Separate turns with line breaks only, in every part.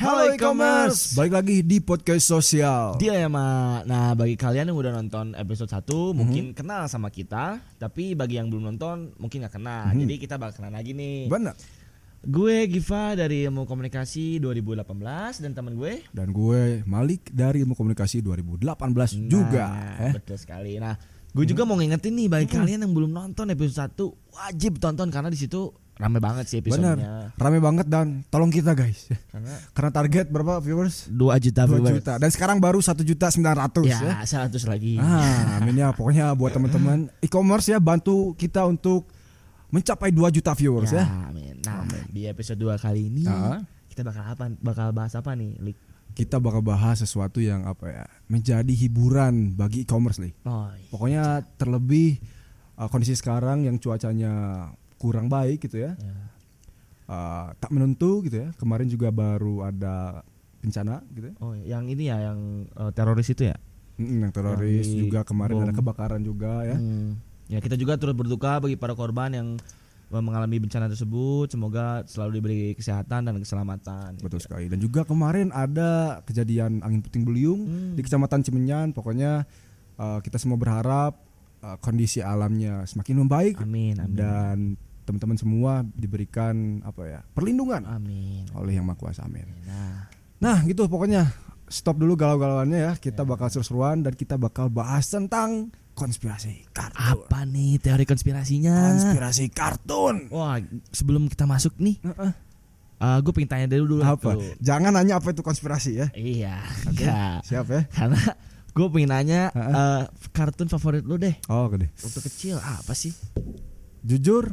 Halo e-commerce.
Balik lagi di podcast sosial.
Dia ya Ma. Nah, bagi kalian yang udah nonton episode 1
Mhm.
mungkin kenal sama kita, tapi bagi yang belum nonton mungkin nggak kenal. Jadi kita bakal kenal lagi nih.
Mhm. Benar.
Gue Giva dari Ilmu Komunikasi 2018 dan teman gue
Dan gue Malik dari Ilmu Komunikasi 2018 juga.
Nah,
Eh, Mhm.
Betul sekali. Nah, gue juga mau ngingetin nih bagi kalian yang belum nonton episode 1 wajib tonton karena di situ rame banget sih episodenya.
benar. Rame banget dan tolong kita guys.
Karena
Karena target berapa viewers?
2 juta
2
viewers.
juta. Dan sekarang baru 1 juta 900 ya.
Ya, 100 lagi.
Ah, amin ya. Pokoknya buat teman-teman e-commerce ya bantu kita untuk mencapai 2 juta viewers ya.
amin. Nah, di episode 2 kali ini
Ah.
kita bakal apa? Bakal bahas apa nih, Lik?
Kita bakal bahas sesuatu yang apa ya? Menjadi hiburan bagi e-commerce nih.
Oh,
Pokoknya terlebih uh, kondisi sekarang yang cuacanya kurang baik gitu ya.
ya.
Uh, tak menentu gitu ya. Kemarin juga baru ada bencana gitu ya.
oh, yang ini ya yang eh, teroris itu ya.
Mm, Yang teroris
Yang di
juga kemarin ada
bom.
kebakaran juga ya.
Hmm. Ya, kita juga turut berduka bagi para korban yang mengalami bencana tersebut. Semoga selalu diberi kesehatan dan keselamatan.
Betul sekali. Dan juga kemarin ada kejadian angin puting beliung
Hmm.
di Kecamatan Cimenyan. Pokoknya uh, kita semua berharap uh, kondisi alamnya semakin membaik
Amin, amin.
dan teman-teman semua diberikan apa ya? perlindungan
Amin.
oleh Yang Maha Kuasa. Amin.
Nah,
Nah gitu pokoknya stop dulu galau-galauannya ya Kita bakal seru-seruan dan kita bakal bahas tentang konspirasi kartun
apa nih teori konspirasinya?
Konspirasi kartun
Wah, sebelum kita masuk nih, eh, gue pengen tanya dulu dulu
Apa?
tuh.
Jangan nanya apa itu konspirasi ya
Iya, enggak.
Siap ya
Karena gue pengen nanya eh, kartun favorit lu deh
Oh gede
waktu kecil apa sih?
Jujur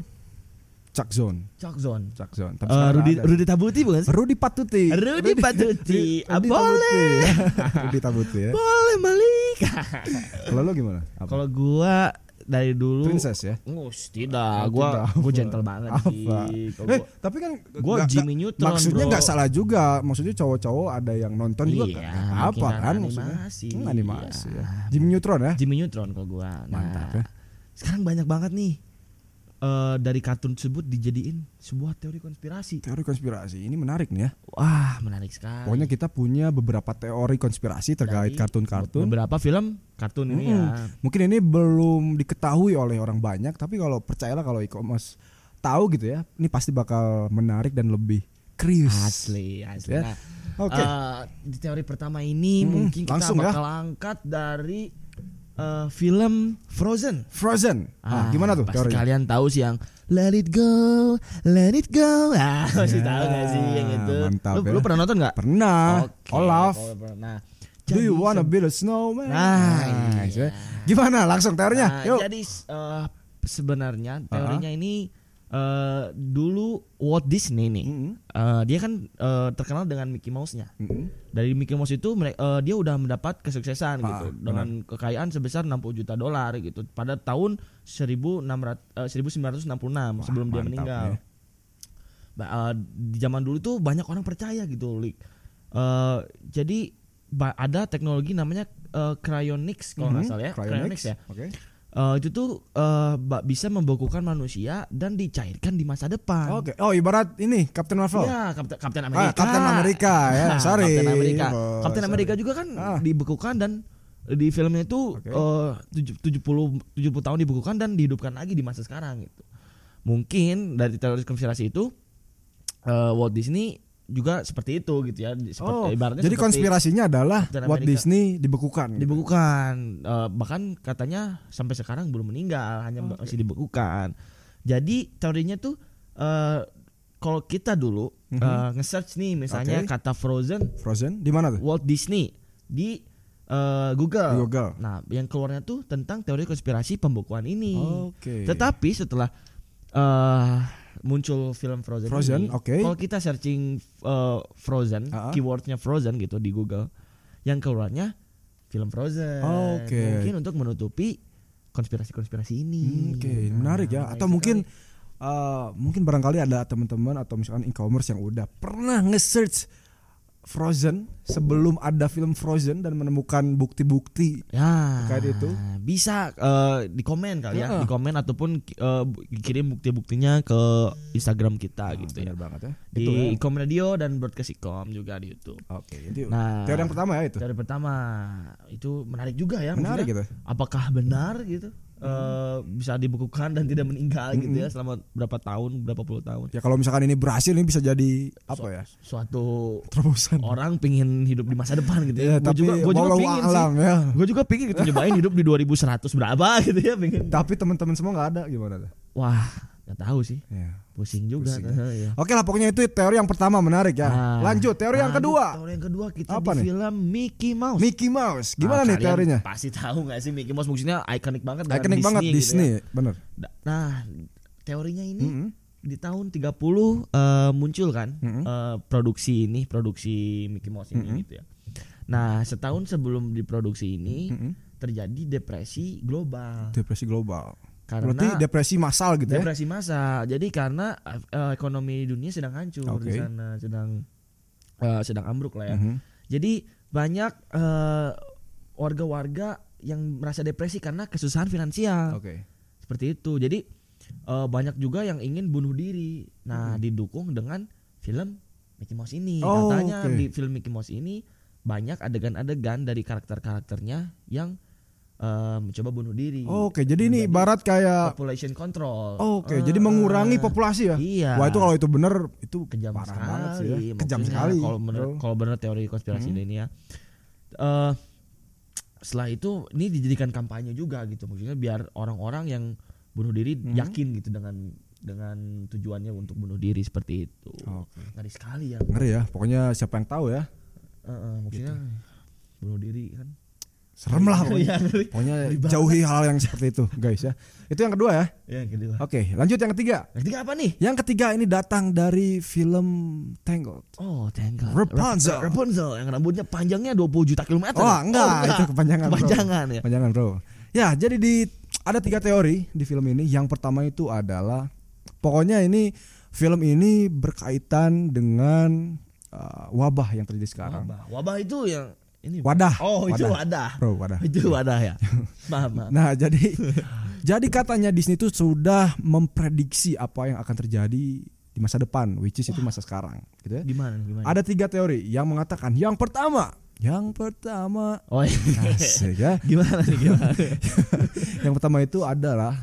Cak Zone
Chalk Zone.
Cak Zone Tapi
Eh,
sekarang
Rudi
nggak ada.
Rudi Tabuti bukan sih?
Rudi Patuti
Rudi Patuti. Ah,
Rudi
boleh.
Tabuti. Rudi Tabuti ya
Boleh Malik.
Kalau lo gimana? Apa?
Kalau gua dari dulu
Princess ya
Ngus, tidak,
Oh,
Ah, gua
tidak.
gua gentle banget
Apa?
sih. Kalau
Eh,
gua-
tapi kan
Gua
nggak-
Jimmy
nggak-
Neutron,
Maksudnya
bro.
nggak salah juga. Maksudnya cowok-cowok ada yang nonton juga
Iya,
kan. Apa
mungkin
kan
animasi.
maksudnya? Hmm, animasi
Iya.
ya. Jimmy Neutron ya.
Jimmy Neutron kalau gua. Nah,
Mantap ya.
Sekarang banyak banget nih eh, dari kartun tersebut dijadiin sebuah teori konspirasi.
Teori konspirasi ini menarik nih ya.
Wah, menarik sekali.
Pokoknya kita punya beberapa teori konspirasi
Dari
terkait kartun-kartun.
beberapa film kartun ini ya.
Hmm, Mungkin ini belum diketahui oleh orang banyak, tapi kalau percayalah kalau e-commerce tahu gitu ya, ini pasti bakal menarik dan lebih krius.
Asli, asli.
Ya.
Nah,
Oke.
eh, di teori pertama ini
Hmm,
mungkin kita
langsung ya.
bakal angkat dari eh, film Frozen.
Frozen. Ah, gimana tuh
pasti
teori?
kalian tahu sih yang Let It Go, Let It Go. Ah, masih
Ya,
tahu gak sih yang itu?
mantap
lu,
ya.
lu pernah nonton nggak?
Pernah.
Oke,
Olaf.
kalau pernah. Nah,
Do you
jadi
wanna be a snowman?
Nah,
nice,
iya.
ya. Gimana? Langsung teorinya.
Nah,
Yuk. Ah.
Jadi eh, sebenarnya teorinya ini eh, dulu Walt Disney nih,
Mm-mm.
eh, dia kan eh, terkenal dengan Mickey Mouse-nya.
Mm-mm.
Dari Mickey Mouse itu mere- eh, dia udah mendapat kesuksesan
Ah,
gitu
benar.
dengan kekayaan sebesar 60 juta dolar gitu pada tahun 1600 eh, 1966 sebelum dia
mantap
meninggal.
ya.
Ba- eh, di zaman dulu tuh banyak orang percaya gitu, Lik. Eh, jadi ba- ada teknologi namanya eh, cryonics kalau nggak
Mhm.
salah ya.
Cryonics.
ya.
Oke.
Eh, itu tuh eh, ba- bisa membekukan manusia dan dicairkan di masa depan.
Oke. Oh, ibarat ini Captain Marvel.
Ya, Kapten, Kapten Amerika.
Ah, Kapten Amerika, ya. Sorry.
Kapten Amerika.
Oh,
Kapten
sorry.
Amerika juga kan
Ah.
dibekukan dan di filmnya itu
Oke.
eh, tujuh- 70 70 tahun dibekukan dan dihidupkan lagi di masa sekarang gitu. Mungkin dari teori konspirasi itu eh, Walt Disney juga seperti itu gitu ya. Seperti,
Oh,
ibaratnya
jadi
seperti-
konspirasinya adalah
Captain
Walt
Amerika.
Disney dibekukan.
dibekukan Eh, bahkan katanya sampai sekarang belum meninggal hanya masih dibekukan jadi teorinya tuh eh kalau kita dulu
Mhm.
eh, nge-search nih misalnya
Oke.
kata Frozen
Frozen di mana tuh?
Walt Disney di eh, Google.
Di Google.
Nah, yang keluarnya tuh tentang teori konspirasi pembekuan ini.
Oke.
Tetapi setelah eh muncul film Frozen,
Frozen,
ini,
oke.
kalau kita searching eh, Frozen,
Ah.
keywordnya Frozen gitu di Google, yang keluarnya film Frozen.
Oke.
Mungkin untuk menutupi konspirasi-konspirasi ini.
Hmm, Oke,
Nah,
menarik ya. Atau mungkin eh, mungkin barangkali ada teman-teman atau misalkan e-commerce yang udah pernah nge-search Frozen sebelum ada film Frozen dan menemukan bukti-bukti
Ya.
Terkait itu.
Bisa eh, di komen kali ya,
Heeh.
di komen ataupun eh, bu- kirim bukti-buktinya ke Instagram kita gitu ya.
Bener banget ya. Itu ya.
Di Ikom Radio dan Broadcast Ikom juga di YouTube.
Oke, jadi
Nah,
teori yang pertama ya itu.
Dari pertama itu menarik juga ya.
Menarik
maksudnya.
gitu.
Apakah benar gitu? Eh, bisa dibekukan dan tidak meninggal gitu ya selama berapa tahun, berapa puluh tahun.
Ya kalau misalkan ini berhasil ini bisa jadi apa ya?
Suatu
Terobosan.
orang pingin hidup di masa depan gitu ya.
Ya,
Gua
tapi
gua
walau
pingin sih.
alam ya.
Gue juga pingin gitu nyobain hidup di 2100 berapa gitu ya pingin.
Tapi teman-teman semua nggak ada gimana tuh?
Wah, nggak tahu sih.
Ya.
Pusing juga.
Pusing.
Iya.
Oke lah pokoknya itu teori yang pertama menarik ya.
Nah,
Lanjut teori yang
lanjut,
kedua.
Teori yang kedua kita di
Apa nih?
film Mickey Mouse.
Mickey Mouse. Gimana
Nah,
nih
kalian
teorinya?
Pasti tahu nggak sih Mickey Mouse maksudnya ikonik banget dengan
Ikonik banget
gitu ya.
Disney, bener.
Da- Nah, teorinya ini
Mm-mm.
di tahun 30 eh, muncul kan
Mm-mm.
eh, produksi ini, produksi Mickey Mouse ini gitu ya. Nah, setahun sebelum diproduksi ini
Mm-mm.
terjadi depresi global.
Depresi global.
Karena
Berarti depresi massal gitu ya?
depresi massa. Jadi karena eh, ekonomi dunia sedang hancur
Oke.
di sana, sedang eh, sedang ambruk lah ya.
Mhm.
Jadi banyak eh, warga-warga yang merasa depresi karena kesusahan finansial.
Oke.
Seperti itu. Jadi eh, banyak juga yang ingin bunuh diri. Nah, didukung dengan film Mickey Mouse ini.
Mhm. Oh,
Katanya
oke.
di film Mickey Mouse ini banyak adegan-adegan dari karakter-karakternya yang eh, mencoba bunuh diri.
Oh, Oke, jadi ini ibarat kayak
population control. Eh,
Oke, jadi mengurangi
eh.
populasi ya.
Iya.
Wah itu kalau itu bener itu
kejam
parah
sekali.
banget sih ya. Kejam
Maksudnya
sekali. Hmm.
Kalau bener
Betul.
kalau bener teori konspirasi ini ya. Eh, setelah itu ini dijadikan kampanye juga gitu maksudnya biar orang-orang yang bunuh diri
Hmm.
yakin gitu dengan dengan tujuannya untuk bunuh diri seperti itu.
Oke.
Ngeri sekali ya.
Ngeri ya, pokoknya siapa yang tahu ya.
Eh, eh, maksudnya bunuh diri kan.
Gitu. Serem lah pokoknya.
Iya, ngeri.
Pokoknya jauhi hal yang seperti itu, guys ya. Itu yang kedua ya.
Ya, gitu lah.
Oke, lanjut yang ketiga.
Yang ketiga apa nih?
Yang ketiga ini datang dari film Tangled.
Oh, Tangled.
Rapunzel.
Rapunzel yang rambutnya panjangnya 20 juta kilometer.
Oh, enggak, itu kepanjangan. bro.
Kepanjangan ya.
Kepanjangan, Bro. Ya, jadi di ada tiga teori di film ini. Yang pertama itu adalah pokoknya ini film ini berkaitan dengan uh, wabah yang terjadi sekarang.
Wabah. Wabah itu yang ini.
Wadah.
Oh, itu
Wadah.
wadah.
Bro, wadah.
Itu wadah ya. Maaf, maaf.
Nah, jadi jadi katanya Disney itu sudah memprediksi apa yang akan terjadi di masa depan, which is itu masa sekarang, gitu ya.
Gimana gimana?
Ada tiga teori yang mengatakan yang pertama, yang pertama
Oh, iya.
Asik ya.
gimana nih gimana?
yang pertama itu adalah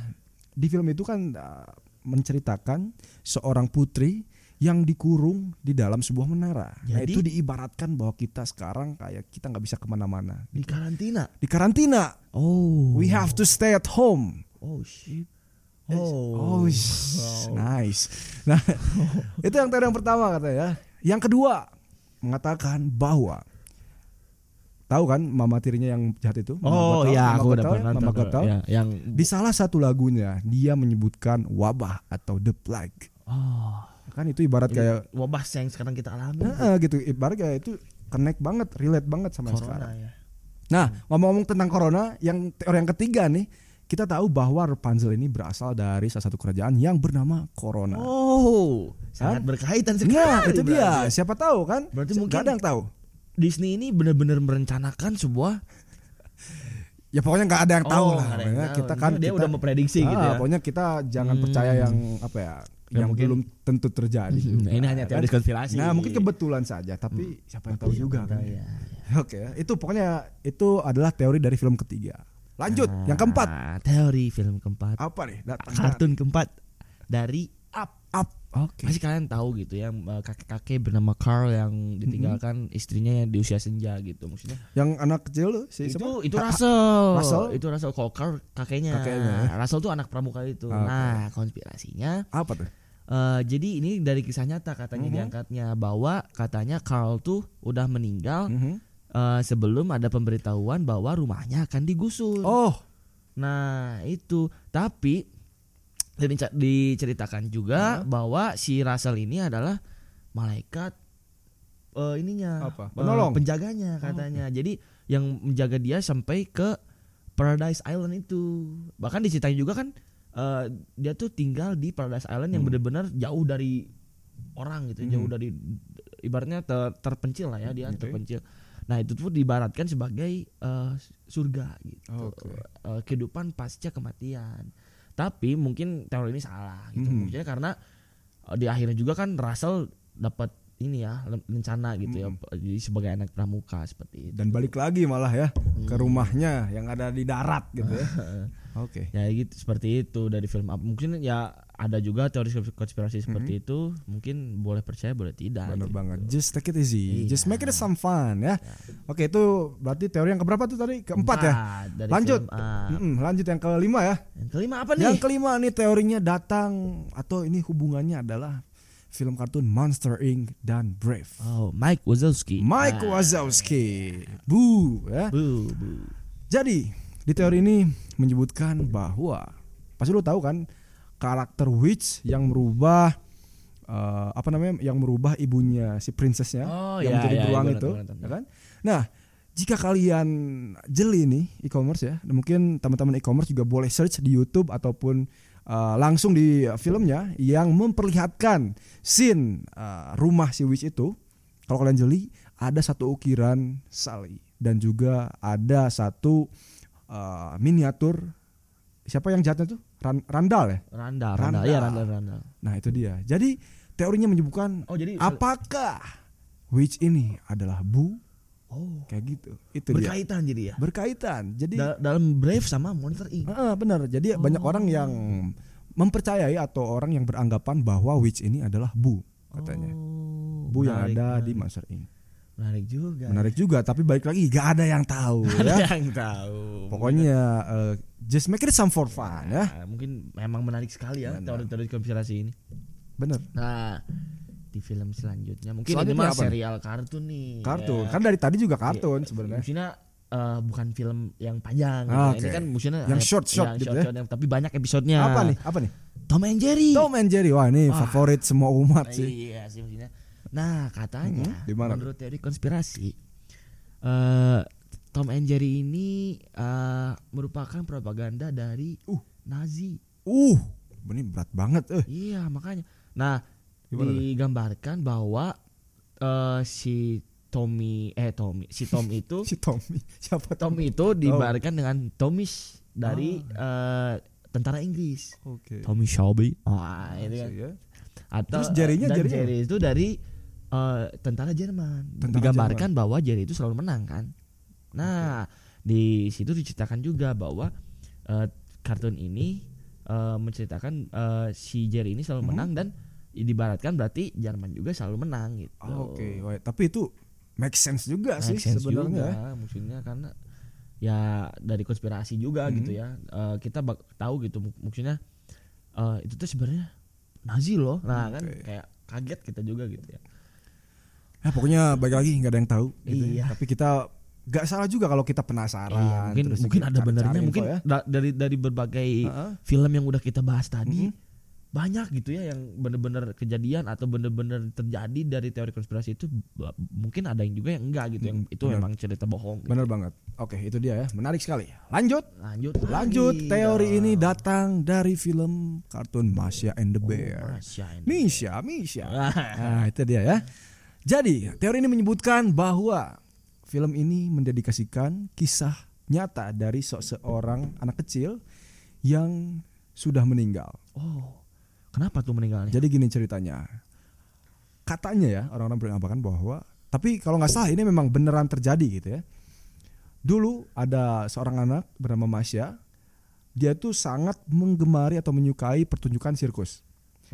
di film itu kan uh, menceritakan seorang putri yang dikurung di dalam sebuah menara. Nah,
Jadi?
itu diibaratkan bahwa kita sekarang kayak kita nggak bisa kemana-mana.
Di karantina.
Di karantina,
Oh.
we have to stay at home.
Oh shit. Oh.
Oh, s- nice. Nah, itu yang teori yang pertama katanya ya. Yang kedua mengatakan bahwa tahu kan mama tirinya yang jahat itu? Mama
Oh,
Gothel,
ya
Mama
aku udah
Gothel,
pernah
Mama
nonton.
Gothel.
Ya, yang
Di salah satu lagunya dia menyebutkan wabah atau the plague.
oh.
Kan itu ibarat
Ini
Ah. kayak
wabah yang sekarang kita alami.
"Nah, gitu, ibarat kayak itu connect banget, relate banget sama yang sekarang.
Corona ya.
Nah, ngomong-ngomong tentang corona, yang teori yang ketiga nih, kita tahu bahwa Rapunzel ini berasal dari salah satu kerajaan yang bernama Corona.
Oh, sangat
Nah. Hah?
berkaitan sekali.
Nah, itu dia.
berarti.
Siapa tahu kan?
Berarti
Si-
mungkin-
nggak ada yang tahu.
Disney ini benar-benar merencanakan sebuah
Ya pokoknya nggak ada yang tahu
Oh, nggak
lah.
ada yang
Pokoknya
tahu.
kita kan
Dia
kita,
udah memprediksi gitu
Ah,
ya. Hmm.
Pokoknya kita jangan percaya yang apa ya,
Ya,
yang
mungkin-
belum tentu terjadi. juga,
Nah, ini hanya teori
kan?
konspirasi. Hmm.
Nah, mungkin kebetulan saja, tapi siapa yang tahu juga kan?
Iya.
Oke, itu pokoknya itu adalah teori dari film ketiga. Lanjut, yang keempat.
Ah, teori film keempat.
Apa nih? Datang.
Ah, Kartun keempat dari Up.
Up. Oke.
Pasti kalian tahu gitu ya eh, kakek-kakek bernama Carl yang ditinggalkan istrinya yang di usia senja gitu maksudnya.
Yang anak kecil lu si
itu
siapa?
itu
Ha-
Russell.
Russell?
Itu Russell kalau Carl kakeknya. Nah,
Kakeknya, ya.
Russell tuh anak pramuka itu.
Oke.
Nah, konspirasinya
Apa tuh?
eh, jadi ini dari kisah nyata katanya
Mhm.
diangkatnya bahwa katanya Carl tuh udah meninggal
Mhm.
eh, sebelum ada pemberitahuan bahwa rumahnya akan digusur.
Oh,
Nah itu tapi dirinca- diceritakan juga
Hmm.
bahwa si Russell ini adalah malaikat eh, ininya eh,
Apa? Penolong? Oh,
penjaganya katanya. Jadi yang menjaga dia sampai ke Paradise Island itu bahkan diceritain juga kan eh, dia
Hmm.
tuh tinggal di Paradise Island yang benar-benar jauh dari orang gitu jauh dari ibaratnya ter- terpencil lah ya dia
Oke.
terpencil. Nah itu tuh diibaratkan sebagai eh, surga gitu,
Oke.
Eh, kehidupan pasca kematian. Tapi mungkin teori ini salah gitu,
Mhm.
maksudnya karena eh, di akhirnya juga kan Russell dapat ini ya lem- lencana gitu
Hmm.
ya, jadi sebagai anak pramuka seperti itu.
dan balik lagi malah ya ke
Hmm.
rumahnya yang ada di darat gitu ya. Oke.
Ya gitu seperti itu dari film apa mungkin ya ada juga teori konspirasi
Hmm.
seperti itu mungkin boleh percaya boleh tidak.
Bener
gitu.
banget. Just take it easy.
Iya.
Just make it some fun ya. Oke, itu berarti teori yang keberapa tuh tadi? Keempat ya.
Empat dari
Lanjut.
film A.
Mm-mm, lanjut yang kelima ya.
Yang kelima apa nih?
Yang kelima nih teorinya datang atau ini hubungannya adalah film kartun Monster Inc dan Brave.
Oh, Mike Wazowski.
Mike
Ah,
Wazowski. Bu ya.
Bu, bu.
Jadi di teori ini menyebutkan bahwa pasti lu tahu kan karakter witch yang merubah eh, apa namanya yang merubah ibunya si princessnya
Oh,
yang
iya,
menjadi
iya,
beruang
iya, gua
itu,
nonton, gua nonton.
ya kan? Nah jika kalian jeli nih e-commerce ya, dan mungkin teman-teman e-commerce juga boleh search di YouTube ataupun eh, langsung di eh, filmnya yang memperlihatkan scene eh, rumah si witch itu. Kalau kalian jeli, ada satu ukiran Sally dan juga ada satu eh, miniatur siapa yang jahatnya tuh Ran- Randall ya.
Randall,
Randall.
Randall. Iya, Randall, Randall.
Nah itu dia. Jadi teorinya menyebutkan
Oh, jadi
apakah witch ini adalah bu
Oh,
kayak gitu. Itu dia.
berkaitan jadi ya.
Berkaitan. Jadi
Da- Oh. dalam Brave sama Monster Inc.
Heeh, benar. Jadi banyak orang yang mempercayai atau orang yang beranggapan bahwa witch ini adalah bu katanya.
Oh,
bu yang
menarik,
ada
menarik.
di Monster Inc.
menarik juga.
Menarik juga, tapi balik lagi gak ada yang tahu
Ada
ya.
yang tahu.
Pokoknya eh, just make it some for fun ya.
Nah, mungkin memang menarik sekali ya
Benar.
teori-teori konspirasi ini.
Bener.
Nah, di film selanjutnya mungkin ini
Selanjutnya
mah
apa nih?
serial kartun nih.
Kartun.
Ya.
Kan dari tadi juga kartun
Iya,
sebenarnya.
Maksudnya eh, bukan film yang panjang. gitu.
Ah,
Ini
oke.
kan maksudnya
Yang
eh,
short-short
yang
gitu
short-short yang- tapi banyak episodenya.
Apa nih? Apa nih?
Tom and Jerry.
Tom and Jerry. Wah, ini favorit semua umat sih.
Iya sih maksudnya. Nah katanya
Mhm, di mana tuh?
menurut teori konspirasi eh Tom and Jerry ini eh, merupakan propaganda dari
Uh.
Nazi.
Uh, ini berat banget eh.
Iya makanya. Nah
Gimana tuh?
digambarkan bahwa eh, si Tommy eh Tommy si Tom itu
Si Tommy. Siapa
Tom
Tommy?
itu diibaratkan dengan Tomish dari eh,
Ah.
tentara Inggris.
Oke.
Tommy Shelby. Wah, ini kan.
Iya.
Atau
Terus jarinya-
dan
jarinya
Jerry itu dari eh, tentara Jerman.
Tentara
Digambarkan bahwa Jerry itu selalu menang kan. Nah, di situ diceritakan juga bahwa eh, kartun ini eh, menceritakan eh, si Jerry ini
Hmm?
selalu menang dan diibaratkan berarti Jerman juga selalu menang gitu.
Oh, Oke, Wah, tapi itu make sense juga
Make
sih
sense
sebenarnya.
juga, maksudnya karena ya dari konspirasi juga
Hmm.
gitu ya Eh, kita bak- tahu gitu mak- maksudnya eh, itu tuh sebenarnya Nazi loh nah kan
Oke.
kayak kaget kita juga gitu ya
Ya, pokoknya balik lagi nggak ada yang tahu. Gitu
Iya.
ya. Tapi kita nggak salah juga kalau kita penasaran.
Iya, mungkin
terus
mungkin
kita
ada
cari-cari
benernya
info
mungkin
ya.
da- dari dari berbagai
Heeh. Hmm.
film yang udah kita bahas tadi banyak gitu ya yang bener-bener kejadian atau bener-bener terjadi dari teori konspirasi itu b- mungkin ada yang juga yang enggak gitu yang itu
Hmm. bener.
memang cerita bohong gitu.
Bener banget. Oke, itu dia ya. Menarik sekali. Lanjut.
lanjut
Lanjut.
lagi
Teori
dong.
ini datang dari film kartun Masya and the Bear.
Masya Allah.
Misha, Misha. Nah, itu dia ya. Jadi, teori ini menyebutkan bahwa film ini mendedikasikan kisah nyata dari seseorang anak kecil yang sudah meninggal.
Oh, kenapa tuh meninggalnya?
Jadi gini ceritanya. Katanya ya orang-orang beranggapan bahwa tapi kalau nggak salah ini memang beneran terjadi gitu ya. Dulu ada seorang anak bernama Masya. Dia tuh sangat menggemari atau menyukai pertunjukan sirkus.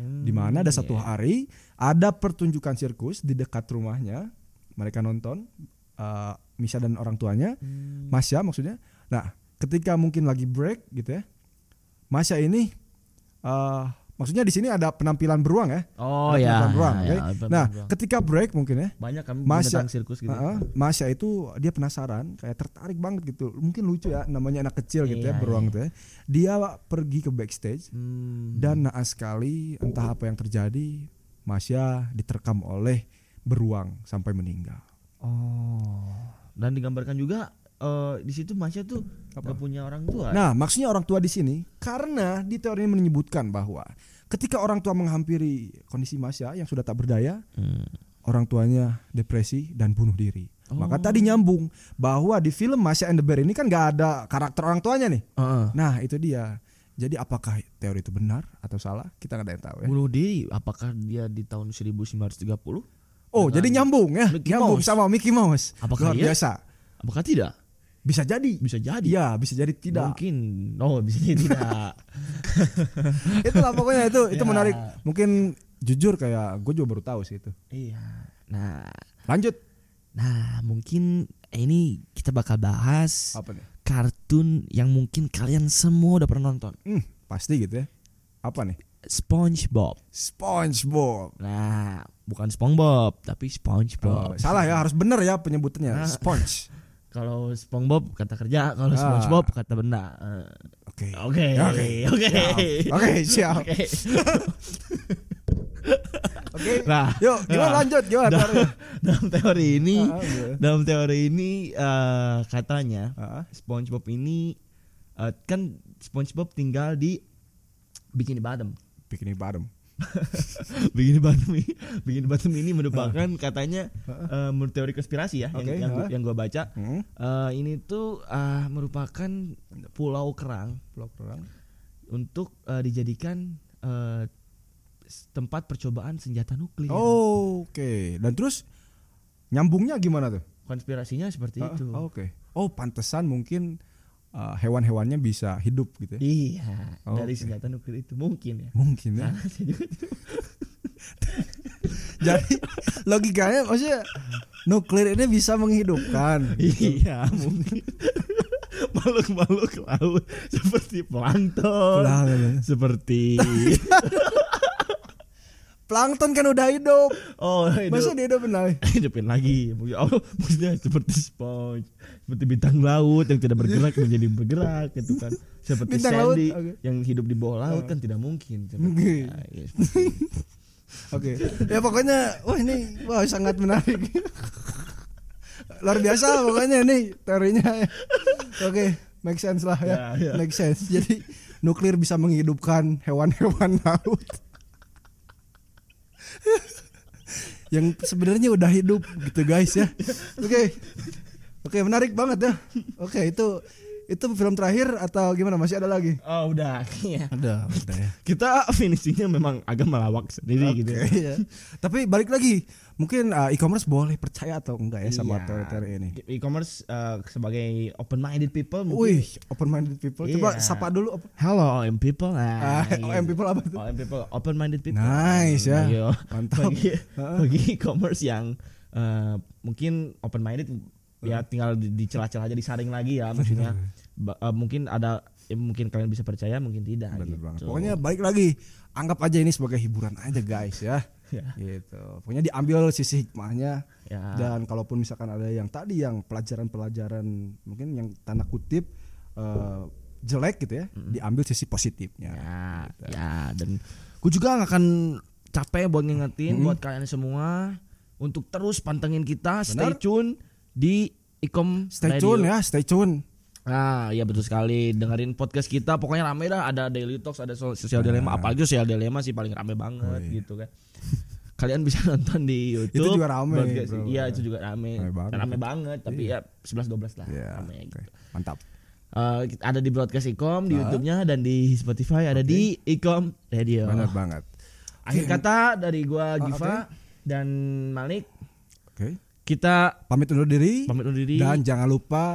Hmm,
di mana ada satu
iya.
hari ada pertunjukan sirkus di dekat rumahnya mereka nonton eh, Misha dan orang tuanya
Hmm.
Masya maksudnya nah ketika mungkin lagi break gitu ya Masya ini eh maksudnya di sini ada penampilan beruang ya
Oh ya.
Ada penampilan beruang,
ya,
oke?
ya, penampilan
nah
beruang.
ketika break mungkin ya
banyak kan
Mas
binatang
ya-
sirkus gitu.
Heeh, Masya itu dia penasaran, kayak tertarik banget gitu. Mungkin lucu ya, namanya anak kecil gitu ya,
Iya,
beruang
iya.
gitu ya. Dia pergi ke backstage,
Hmm.
dan naas sekali entah apa yang terjadi Masya diterkam oleh beruang sampai meninggal.
oh. Dan digambarkan juga eh, di situ Masya tuh
Apa?
gak punya orang tua.
Nah, maksudnya orang tua di sini karena di teori ini menyebutkan bahwa ketika orang tua menghampiri kondisi Masya yang sudah tak berdaya,
Hmm.
orang tuanya depresi dan bunuh diri.
Oh.
Maka tadi nyambung bahwa di film Masya and the Bear ini kan nggak ada karakter orang tuanya nih.
Heeh.
Nah itu dia. Jadi apakah teori itu benar atau salah? Kita nggak ada yang tahu ya.
bunuh diri apakah dia di tahun 1930
Oh
Dengan
jadi nyambung ya?
Mickey
nyambung
Mouse.
sama Mickey Mouse.
Apakah
Luar
iya?
biasa.
apakah tidak
Bisa jadi.
bisa jadi
Iya bisa jadi tidak.
mungkin oh bisa jadi tidak
Itulah pokoknya itu itu
Ya.
menarik. Mungkin jujur kayak gue juga baru tahu sih itu.
iya nah
Lanjut
nah mungkin ini kita bakal bahas
apa nih?
kartun yang mungkin kalian semua udah pernah nonton
Hmm, pasti gitu ya. Apa nih?
SpongeBob
SpongeBob.
nah bukan SpongeBob tapi SpongeBob
Oh, salah ya harus bener ya penyebutannya
Ah.
sponge.
kalau SpongeBob kata kerja kalau
Ah.
SpongeBob kata benda Eh,
Oke. Ya,
oke
Oke.
oke
Siap. Oke ya. siap.
oke
Oke.
nah
Yuk gimana
Nah.
lanjut gimana?
Dah.
teori?
dalam teori ini
Ah, iya.
dalam teori ini eh, katanya
Ah.
SpongeBob ini eh, kan SpongeBob tinggal di Bikini Bottom.
Bikini bottom.
Bikini Bottom ini, Bikini Bottom ini merupakan katanya eh, menurut teori konspirasi ya
Oke,
yang yang, gua-
ah.
yang gua baca.
Hmm.
Eh, ini tuh ah, merupakan pulau kerang
Pulau Kerang.
untuk eh, dijadikan eh, s- tempat percobaan senjata nuklir.
Oh, Oke. Dan terus nyambungnya gimana tuh?
Konspirasinya seperti
Ah,
itu.
Oke. Oh, pantesan mungkin uh, hewan-hewannya bisa hidup gitu ya.
Iya,
Oh,
dari
oke.
senjata nuklir itu mungkin ya.
Mungkin ya.
Karena saya juga
Jadi logikanya maksudnya nuklir ini bisa menghidupkan. gitu.
Iya mungkin makhluk-makhluk laut seperti plankton,
Plankton.
seperti
Plankton kan udah hidup.
oh hidup-
Masa dia hidup benar?
hidupin lagi mungkin oh maksudnya seperti sponge seperti bintang laut yang tidak bergerak menjadi bergerak gitu kan seperti
Bintang laut,
Sandy
oke. Oh.
yang hidup di bawah laut kan tidak mungkin
Oke.
seperti, ya, ya, seperti itu.
Oke. Ya pokoknya wah ini wah sangat menarik. Luar biasa pokoknya nih teorinya. Oke, make sense lah
Ya,
ya.
ya.
Make sense. Jadi nuklir bisa menghidupkan hewan-hewan laut. Yang sebenarnya udah hidup gitu guys ya. Oke. Oke, menarik banget ya. Oke, itu itu film terakhir atau gimana? Masih ada lagi?
oh udah ya.
Ada, ada ya.
kita finishingnya memang agak melawak sendiri
Oke,
gitu
iya. Tapi balik lagi, mungkin uh, e-commerce boleh percaya atau enggak ya sama
Iya.
teori-teori ini?
e-commerce eh, sebagai open minded people mungkin
Wih, open minded people.
Iya.
Coba sapa dulu. op-
Hello, OM people.
Ah,
Nah,
OM people apa tuh?
OM people, open minded people.
Nice ya.
Ayo.
Mantap.
Bagi,
Heeh.
bagi e-commerce yang eh, mungkin open minded ya tinggal di- dicelah-celah aja disaring lagi ya maksudnya. Ba- eh, mungkin ada ya mungkin kalian bisa percaya, mungkin tidak gitu.
Bener banget. Pokoknya balik lagi, anggap aja ini sebagai hiburan aja guys ya.
Ya.
Gitu. Pokoknya diambil sisi hikmahnya.
Ya.
Dan kalaupun misalkan ada yang tadi yang pelajaran-pelajaran mungkin yang tanda kutip eh, jelek gitu ya, diambil sisi positifnya.
ya,
gitu.
ya dan gue juga nggak akan capek buat ngingetin buat kalian semua untuk terus pantengin kita stay tune di Ikom
Stay
Radio.
tune ya, stay tune.
Nah, iya betul sekali. Dengerin podcast kita, pokoknya rame dah. Ada Daily Talks, ada so- Sosial Dilema. Apalagi Sosial Dilema sih paling rame banget gitu kan. Kalian bisa nonton di YouTube.
juga rame,
Podcast-
bro.
Iya, itu juga rame.
Rame
Rame
banget.
banget. tapi ya 11 12 lah
Ya,
rame
oke.
gitu.
Mantap.
Eh, kita- ada di broadcast Ikom di YouTube-nya dan di Spotify ada di Ikom Radio.
Benar banget.
Akhir kata dari gua
Ah,
Giva dan Malik,
Oke.
kita
Pamit undur diri.
pamit undur diri.
Dan jangan lupa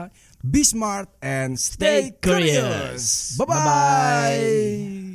be smart and
Stay
stay,
curious.
curious.
Bye-bye.
Bye bye.